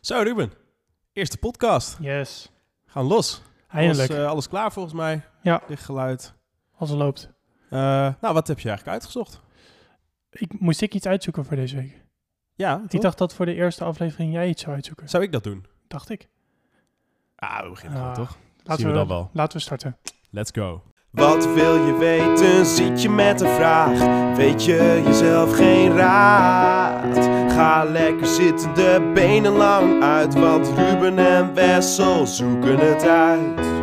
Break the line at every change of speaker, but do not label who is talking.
Zo, Ruben. Eerste podcast.
Yes.
Gaan los.
Eindelijk.
Alles,
Als,
eh, alles klaar volgens mij.
Ja.
Licht geluid.
het loopt.
Eh, nou, wat heb je eigenlijk uitgezocht?
Ik, moest ik iets uitzoeken voor deze week?
Ja,
Ik
toch?
dacht dat voor de eerste aflevering jij iets zou uitzoeken.
Zou ik dat doen?
Dacht ik.
Ah, we beginnen gewoon,
Ah,
toch?
Laten
Zien we dan wel.
Laten we starten.
Let's go.
Wat wil je weten? Zit je met een vraag? Weet je jezelf geen raad? Ga lekker zitten, de benen lang uit, want Ruben en Wessel zoeken het uit.